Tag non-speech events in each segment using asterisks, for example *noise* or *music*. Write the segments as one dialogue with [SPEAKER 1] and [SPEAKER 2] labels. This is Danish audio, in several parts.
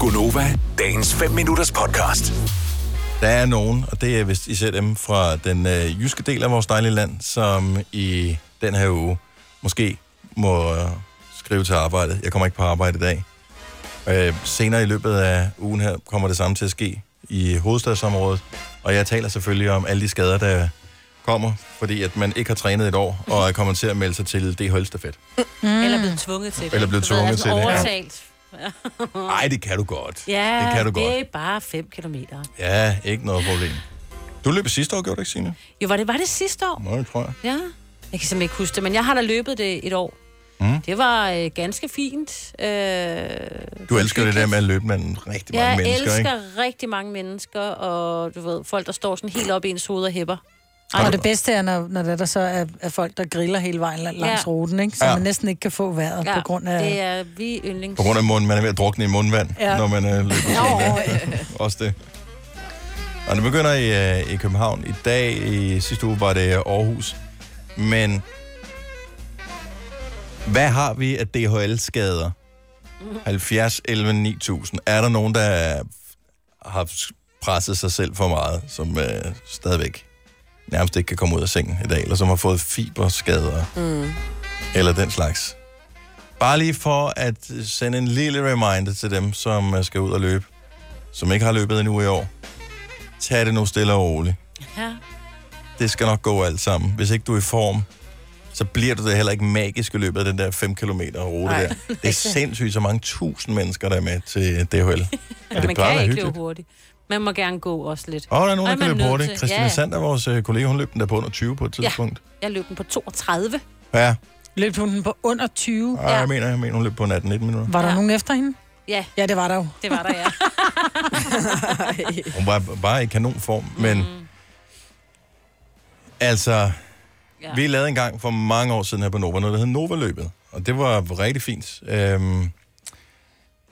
[SPEAKER 1] Gunova, dagens 5 minutters podcast.
[SPEAKER 2] Der er nogen, og det er vist især dem fra den øh, jyske del af vores dejlige land, som i den her uge måske må øh, skrive til arbejdet. Jeg kommer ikke på arbejde i dag. Øh, senere i løbet af ugen her kommer det samme til at ske i hovedstadsområdet, og jeg taler selvfølgelig om alle de skader, der kommer, fordi at man ikke har trænet et år, og er kommet til at melde sig til det holdstafet.
[SPEAKER 3] Mm. Eller blevet tvunget til det.
[SPEAKER 2] Eller blevet
[SPEAKER 3] Du ved,
[SPEAKER 2] tvunget
[SPEAKER 3] altså
[SPEAKER 2] til det, ja.
[SPEAKER 3] Overtalt.
[SPEAKER 2] Nej, det kan du godt.
[SPEAKER 3] Ja,
[SPEAKER 2] det kan du
[SPEAKER 3] det
[SPEAKER 2] godt.
[SPEAKER 3] er bare 5 kilometer.
[SPEAKER 2] Ja, ikke noget problem. Du løb sidste år, gjorde du ikke, Signe?
[SPEAKER 3] Jo, var det, var det sidste år?
[SPEAKER 2] Nå, det tror jeg.
[SPEAKER 3] Ja. Jeg kan simpelthen ikke huske det, men jeg har da løbet det et år.
[SPEAKER 2] Mm.
[SPEAKER 3] Det var øh, ganske fint. Øh,
[SPEAKER 2] Du elsker det der med at løbe med en rigtig mange
[SPEAKER 3] jeg
[SPEAKER 2] mennesker,
[SPEAKER 3] elsker
[SPEAKER 2] ikke?
[SPEAKER 3] rigtig mange mennesker, og du ved, folk, der står sådan helt op i ens hoved og hæpper.
[SPEAKER 4] Og det bedste er, når, når det der så er, er folk, der griller hele vejen la- langs
[SPEAKER 3] Ja.
[SPEAKER 4] ja. ruten, ikke? så
[SPEAKER 2] Ja.
[SPEAKER 4] ja. man næsten ikke kan få vejret ja. på grund af...
[SPEAKER 3] Det er vi yndlings...
[SPEAKER 2] På grund af munden, man er ved at drukne i mundvand, ja.
[SPEAKER 4] Ja.
[SPEAKER 2] når man øh, løber sådan
[SPEAKER 4] Nå,
[SPEAKER 2] der. Også det. Og det begynder i, øh, i København. I dag, i sidste uge, var det Aarhus. Men hvad har vi af DHL-skader? 70, 11, 9000. Er der nogen, der er- har presset sig selv for meget, som øh, stadigvæk nærmest ikke kan komme ud af sengen i dag, eller som har fået fiberskader,
[SPEAKER 5] Mm.
[SPEAKER 2] eller den slags? Bare lige for at sende en lille reminder til dem, som øh, skal ud og løbe, som ikke har løbet endnu i år. Tag det nu stille og roligt.
[SPEAKER 3] Ja.
[SPEAKER 2] Det skal nok gå alt sammen. Hvis ikke du er i form, så bliver du det heller ikke magisk i løbet af den der 5 km rute
[SPEAKER 3] Nej. *laughs*
[SPEAKER 2] der. Det er sindssygt så mange tusind mennesker, der er med til DHL.
[SPEAKER 3] *laughs* Ja,
[SPEAKER 2] det
[SPEAKER 3] Altså,
[SPEAKER 2] plejer
[SPEAKER 3] man
[SPEAKER 2] at
[SPEAKER 3] kan
[SPEAKER 2] være
[SPEAKER 3] ikke
[SPEAKER 2] hyggeligt.
[SPEAKER 3] løbe hurtigt. Man må gerne gå også lidt.
[SPEAKER 2] Og der er nogen, der
[SPEAKER 3] man
[SPEAKER 2] kan løbe
[SPEAKER 3] nødt
[SPEAKER 2] hurtigt.
[SPEAKER 3] til.
[SPEAKER 2] Christina
[SPEAKER 3] Ja, ja.
[SPEAKER 2] Sander, vores øh, kollega, hun løb den der på under 20 på et tidspunkt.
[SPEAKER 3] Jeg løb den på 32.
[SPEAKER 2] Ja, ja.
[SPEAKER 4] *laughs* Løb hun den på under 20?
[SPEAKER 2] Og jeg mener, jeg mener, hun løb på 18-19 minutter.
[SPEAKER 4] Var der ja. nogen efter hende?
[SPEAKER 3] Ja,
[SPEAKER 4] Ja, det var der jo.
[SPEAKER 3] det var der, ja.
[SPEAKER 2] Hun var bare i kanonform, men...
[SPEAKER 3] Mm.
[SPEAKER 2] Altså,
[SPEAKER 3] ja.
[SPEAKER 2] Vi lavede en gang for mange år siden her på Nova noget, der hed Nova-løbet. Og det var rigtig fint. Øhm,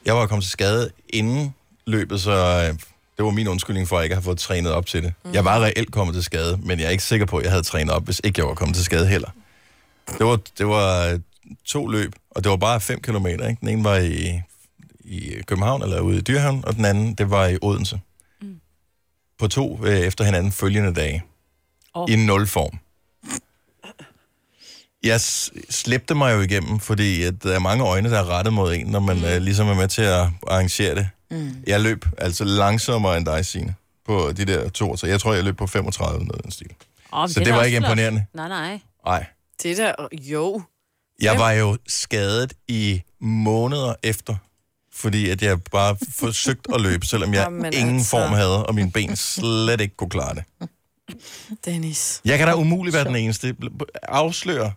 [SPEAKER 2] jeg var kommet til skade inden løbet, så øh, det var min undskyldning for, at jeg ikke har fået trænet op til det. Mm.
[SPEAKER 3] Mhm.
[SPEAKER 2] Jeg var reelt kommet til skade, men jeg er ikke sikker på, at jeg havde trænet op, hvis ikke jeg var kommet til skade heller. Det var, det var øh, to løb, og det var bare 5 km. Ikke? Den ene var i, i København, eller ude i Dyrhavn, og den anden, det var i Odense. Mm. På to øh, efter hinanden følgende dage.
[SPEAKER 3] Åh.
[SPEAKER 2] Oh. I nulform jeg s- slæbte mig jo igennem, fordi at der er mange øjne, der er rettet mod en, når man mm. øh, ligesom er med til at arrangere det. Mm. Jeg løb altså langsommere end dig, Signe, på de der to. Så jeg tror, jeg løb på 35 eller noget i den stil.
[SPEAKER 3] Oh,
[SPEAKER 2] Så det var ikke imponerende.
[SPEAKER 3] Nej, nej.
[SPEAKER 2] Nej.
[SPEAKER 5] Det der, jo.
[SPEAKER 2] Jeg var jo skadet i måneder efter, fordi at jeg bare forsøgte at løbe, selvom jeg
[SPEAKER 5] Jamen
[SPEAKER 2] ingen
[SPEAKER 5] altså.
[SPEAKER 2] form havde, og mine ben slet ikke kunne klare det.
[SPEAKER 5] Dennis.
[SPEAKER 2] Jeg kan da umuligt være den eneste. Afslør,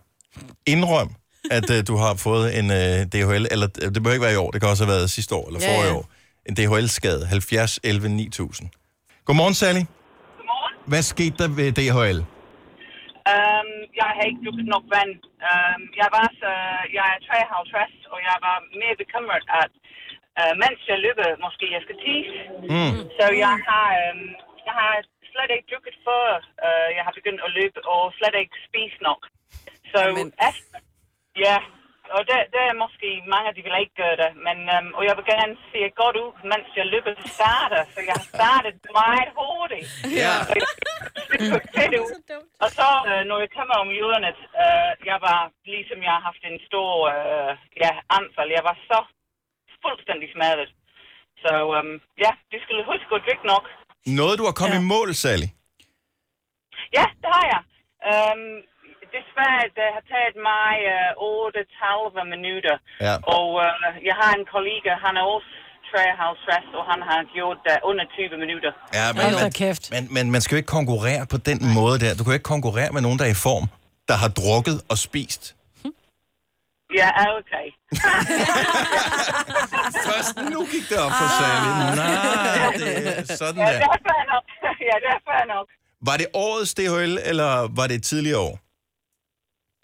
[SPEAKER 2] indrøm, at uh, du har fået en uh, DHL, eller øh, det behøver ikke være i år, det kan også have været sidste år eller
[SPEAKER 5] Ja,
[SPEAKER 2] forrige
[SPEAKER 5] ja.
[SPEAKER 2] år. En DHL-skade, 70 11 9000. Godmorgen, Sally. Godmorgen. Hvad skete der ved DHL?
[SPEAKER 6] Øhm, jeg har ikke drukket nok vand. Øhm, jeg var så, jeg er 53, og jeg var mere bekymret, at øh, mens jeg løber, måske jeg skal tisse.
[SPEAKER 2] Mm.
[SPEAKER 6] Så jeg har, øhm, jeg har slet ikke drukket før øh, jeg har begyndt at løbe, og slet ikke spist nok. Så
[SPEAKER 5] Jamen.
[SPEAKER 6] efter, ja, og der, der er måske mange, de vil ikke gøre det, men, øhm, og jeg vil gerne se godt ud, mens jeg løber starter, så jeg har startet meget hurtigt.
[SPEAKER 5] Ja.
[SPEAKER 6] Så jeg *laughs* ser fedt ud. Og så, øh, når jeg kommer om hjørnet, øh, jeg var, ligesom jeg har haft en stor øh, ja, anfald, jeg var så fuldstændig smadret. Så øhm, ja, de skulle huske at drikke nok.
[SPEAKER 2] Noget, du har kommet ja. i mål, Sally.
[SPEAKER 6] Ja, det har jeg. Øhm, desværre, det har taget mig øh, 38 minutter.
[SPEAKER 2] Ja.
[SPEAKER 6] Og øh, jeg har en kollega, han er også 53, og han har gjort det under 20 minutter.
[SPEAKER 2] Ja, men,
[SPEAKER 4] Hold da
[SPEAKER 2] man,
[SPEAKER 4] kæft.
[SPEAKER 2] Men, men man skal jo ikke konkurrere på den måde der. Du kan jo ikke konkurrere med nogen, der er i form, der har drukket og spist.
[SPEAKER 6] Ja, okay.
[SPEAKER 2] Først nu gik det op for Sally. Ah. Nej, det er sådan
[SPEAKER 6] Ja, *laughs*
[SPEAKER 2] der.
[SPEAKER 6] det er fair nok. ja, det er fair nok.
[SPEAKER 2] Var det årets DHL, eller var det tidligere år?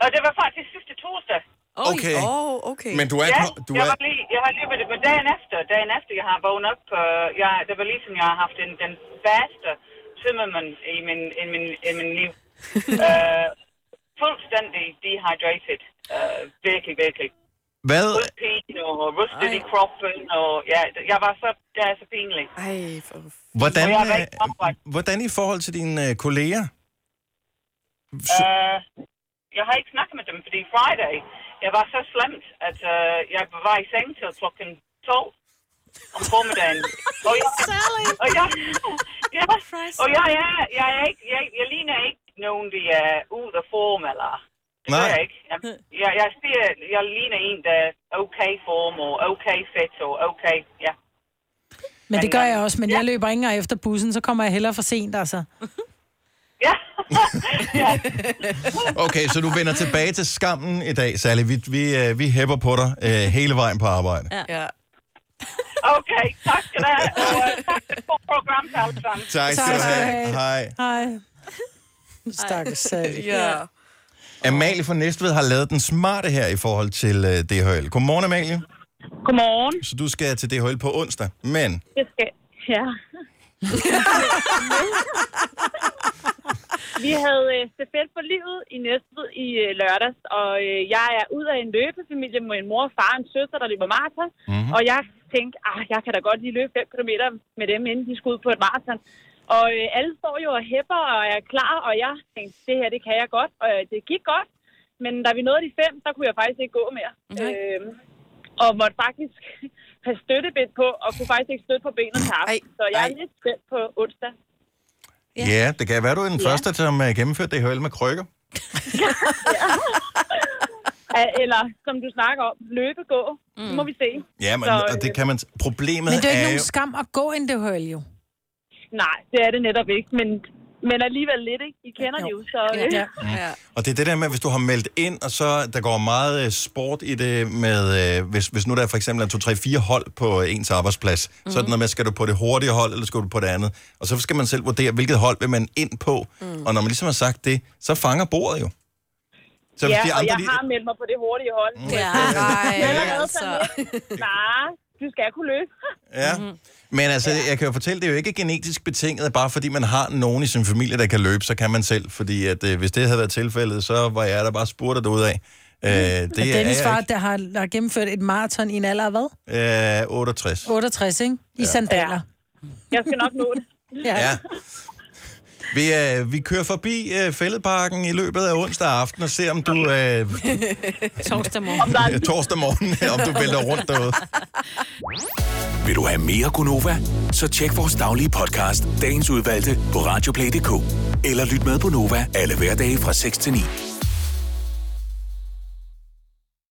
[SPEAKER 6] Og det var faktisk sidste torsdag.
[SPEAKER 3] Oj,
[SPEAKER 2] Okay.
[SPEAKER 5] Åh, oh, okay.
[SPEAKER 2] Men du er...
[SPEAKER 6] Ja,
[SPEAKER 2] ko- du
[SPEAKER 6] jeg,
[SPEAKER 2] er
[SPEAKER 6] var lige, jeg har løbet det, men dagen efter, dagen efter jeg har vågnet op, øh, jeg, det var ligesom, jeg har haft den, den værste tømmermand i min, i min, i min
[SPEAKER 2] *laughs*
[SPEAKER 6] liv. øh, fuldstændig dehydrated. Øh, virkelig, virkelig.
[SPEAKER 2] Hvad?
[SPEAKER 6] rødpin og rystet
[SPEAKER 5] Ej.
[SPEAKER 6] i kroppen, og ja, jeg var så, jeg er så pinlig.
[SPEAKER 5] Ej, for...
[SPEAKER 2] Hvordan,
[SPEAKER 6] Jeg er
[SPEAKER 2] øh,
[SPEAKER 6] rigtig oprejst.
[SPEAKER 2] hvordan i forhold til dine øh, kolleger?
[SPEAKER 6] Øh, jeg har ikke snakket med dem, fordi Friday, jeg var så slemt, at øh, jeg var i seng til klokken 12 om formiddagen. Og jeg, og jeg, ja, og jeg, jeg, jeg, er ikke, jeg, jeg ligner ikke nogen, der er ude af form, eller... Det gør
[SPEAKER 2] Nej.
[SPEAKER 6] jeg ikke. Jeg, jeg, jeg, siger, jeg ligner en, der er okay form, og okay fedt, og okay, ja.
[SPEAKER 4] Men det gør
[SPEAKER 6] Men,
[SPEAKER 4] jeg også, men
[SPEAKER 6] ja.
[SPEAKER 4] jeg løber ikke engang efter bussen, så kommer jeg hellere for sent, altså.
[SPEAKER 6] Ja, *laughs*
[SPEAKER 2] Okay, så du vender tilbage til skammen i dag, Sally. Vi, vi, øh, vi hæpper på dig øh, hele vejen på arbejde.
[SPEAKER 5] Ja.
[SPEAKER 6] okay. Tak skal du have, og øh, tak for et godt program til alle sammen.
[SPEAKER 2] Tak skal
[SPEAKER 4] Tak
[SPEAKER 2] du
[SPEAKER 4] skal du
[SPEAKER 2] have.
[SPEAKER 4] have.
[SPEAKER 2] Hej.
[SPEAKER 4] Hej. Stakkels sag.
[SPEAKER 5] *laughs* Ja.
[SPEAKER 2] Amalie fra Næstved har lavet den smarte her i forhold til øh, DHL. Godmorgen, Amalie.
[SPEAKER 7] Godmorgen.
[SPEAKER 2] Så du skal til DHL på onsdag, men
[SPEAKER 7] Jeg skal... Ja. Vi havde øh, stafet for livet i Næstved i øh, lørdags, og øh, jeg er ud af en løbefamilie med en mor, far og en søster, der løber maraton. Mm-hmm. Og jeg tænkte, ah, jeg kan da godt lige løbe 5 km med dem, inden de skal ud på et maraton. Og øh, alle står jo og hæpper og er klar, og jeg tænkte, det her, det kan jeg godt. Og øh, det gik godt, men da vi nåede de 5, der kunne jeg faktisk ikke gå mere.
[SPEAKER 3] Nej.
[SPEAKER 7] Øh, og måtte faktisk *laughs* have støttebind på, og kunne faktisk ikke støtte på benet til aften.
[SPEAKER 5] Ej,
[SPEAKER 7] Så jeg er
[SPEAKER 5] ej.
[SPEAKER 7] lidt spændt på onsdag.
[SPEAKER 2] ja, ja det kan være, du er den ja.
[SPEAKER 7] Ja.
[SPEAKER 2] første, som øh, gennemførte DHL med krykker.
[SPEAKER 7] Ah, Eller som du snakker om, løbegå. Mm. Det må vi se.
[SPEAKER 2] Ja, men,
[SPEAKER 7] Så,
[SPEAKER 2] og det
[SPEAKER 7] øh,
[SPEAKER 2] kan man... Problemet
[SPEAKER 4] Men det er jo
[SPEAKER 2] er
[SPEAKER 4] ikke
[SPEAKER 2] jo...
[SPEAKER 4] nogen skam at gå ind, det hører jo.
[SPEAKER 7] øh, Nej, det er det netop ikke, men, men alligevel lidt, ikke? I kender
[SPEAKER 4] Jo.
[SPEAKER 7] det jo, så... øh,
[SPEAKER 4] Ja.
[SPEAKER 5] ja.
[SPEAKER 2] Og det er det der med, hvis du har meldt ind, og så der går meget øh, sport i det med, øh, hvis, hvis nu der for eksempel er 2, 3, 4 hold på ens arbejdsplads, mm.
[SPEAKER 7] Mhm.
[SPEAKER 2] så er det noget med, skal du på det hurtige hold, eller skal du på det andet? Og så skal man selv vurdere, hvilket hold vil man ind på. Mm. Og når man ligesom har sagt det, så fanger bordet jo. Så
[SPEAKER 7] Ja, og jeg har meldt mig på det hurtige hold. Mm.
[SPEAKER 3] Ja.
[SPEAKER 5] Nej,
[SPEAKER 7] altså. Nej, du skal kunne løbe. *laughs*
[SPEAKER 2] Ja.
[SPEAKER 7] Mhm.
[SPEAKER 2] Men altså, ja. jeg kan jo fortælle, det er jo ikke genetisk betinget, at bare fordi man har nogen i sin familie, der kan løbe, så kan man selv. Fordi at, øh, hvis det havde været tilfældet, så var jeg der bare spurgt ud af. Øh, det
[SPEAKER 4] Det Dennis
[SPEAKER 2] er
[SPEAKER 4] far, der har, der har gennemført et maraton i en alder af hvad?
[SPEAKER 2] jeg ikke. Øh, 68.
[SPEAKER 4] 68, ikke? I ja. sandaler.
[SPEAKER 7] Jeg skal nok nå det.
[SPEAKER 2] Ja. Vi, øh, vi kører forbi øh, fældeparken i løbet af onsdag aften og ser, om du øh,
[SPEAKER 3] Torsdag morgen.
[SPEAKER 7] Der er
[SPEAKER 2] torsdag morgen, om du vælter rundt derude.
[SPEAKER 1] Vil du have mere Gunova? Så tjek vores daglige podcast, dagens udvalgte, på radioplay.dk. Eller lyt med på Nova alle hverdage fra 6 til 9.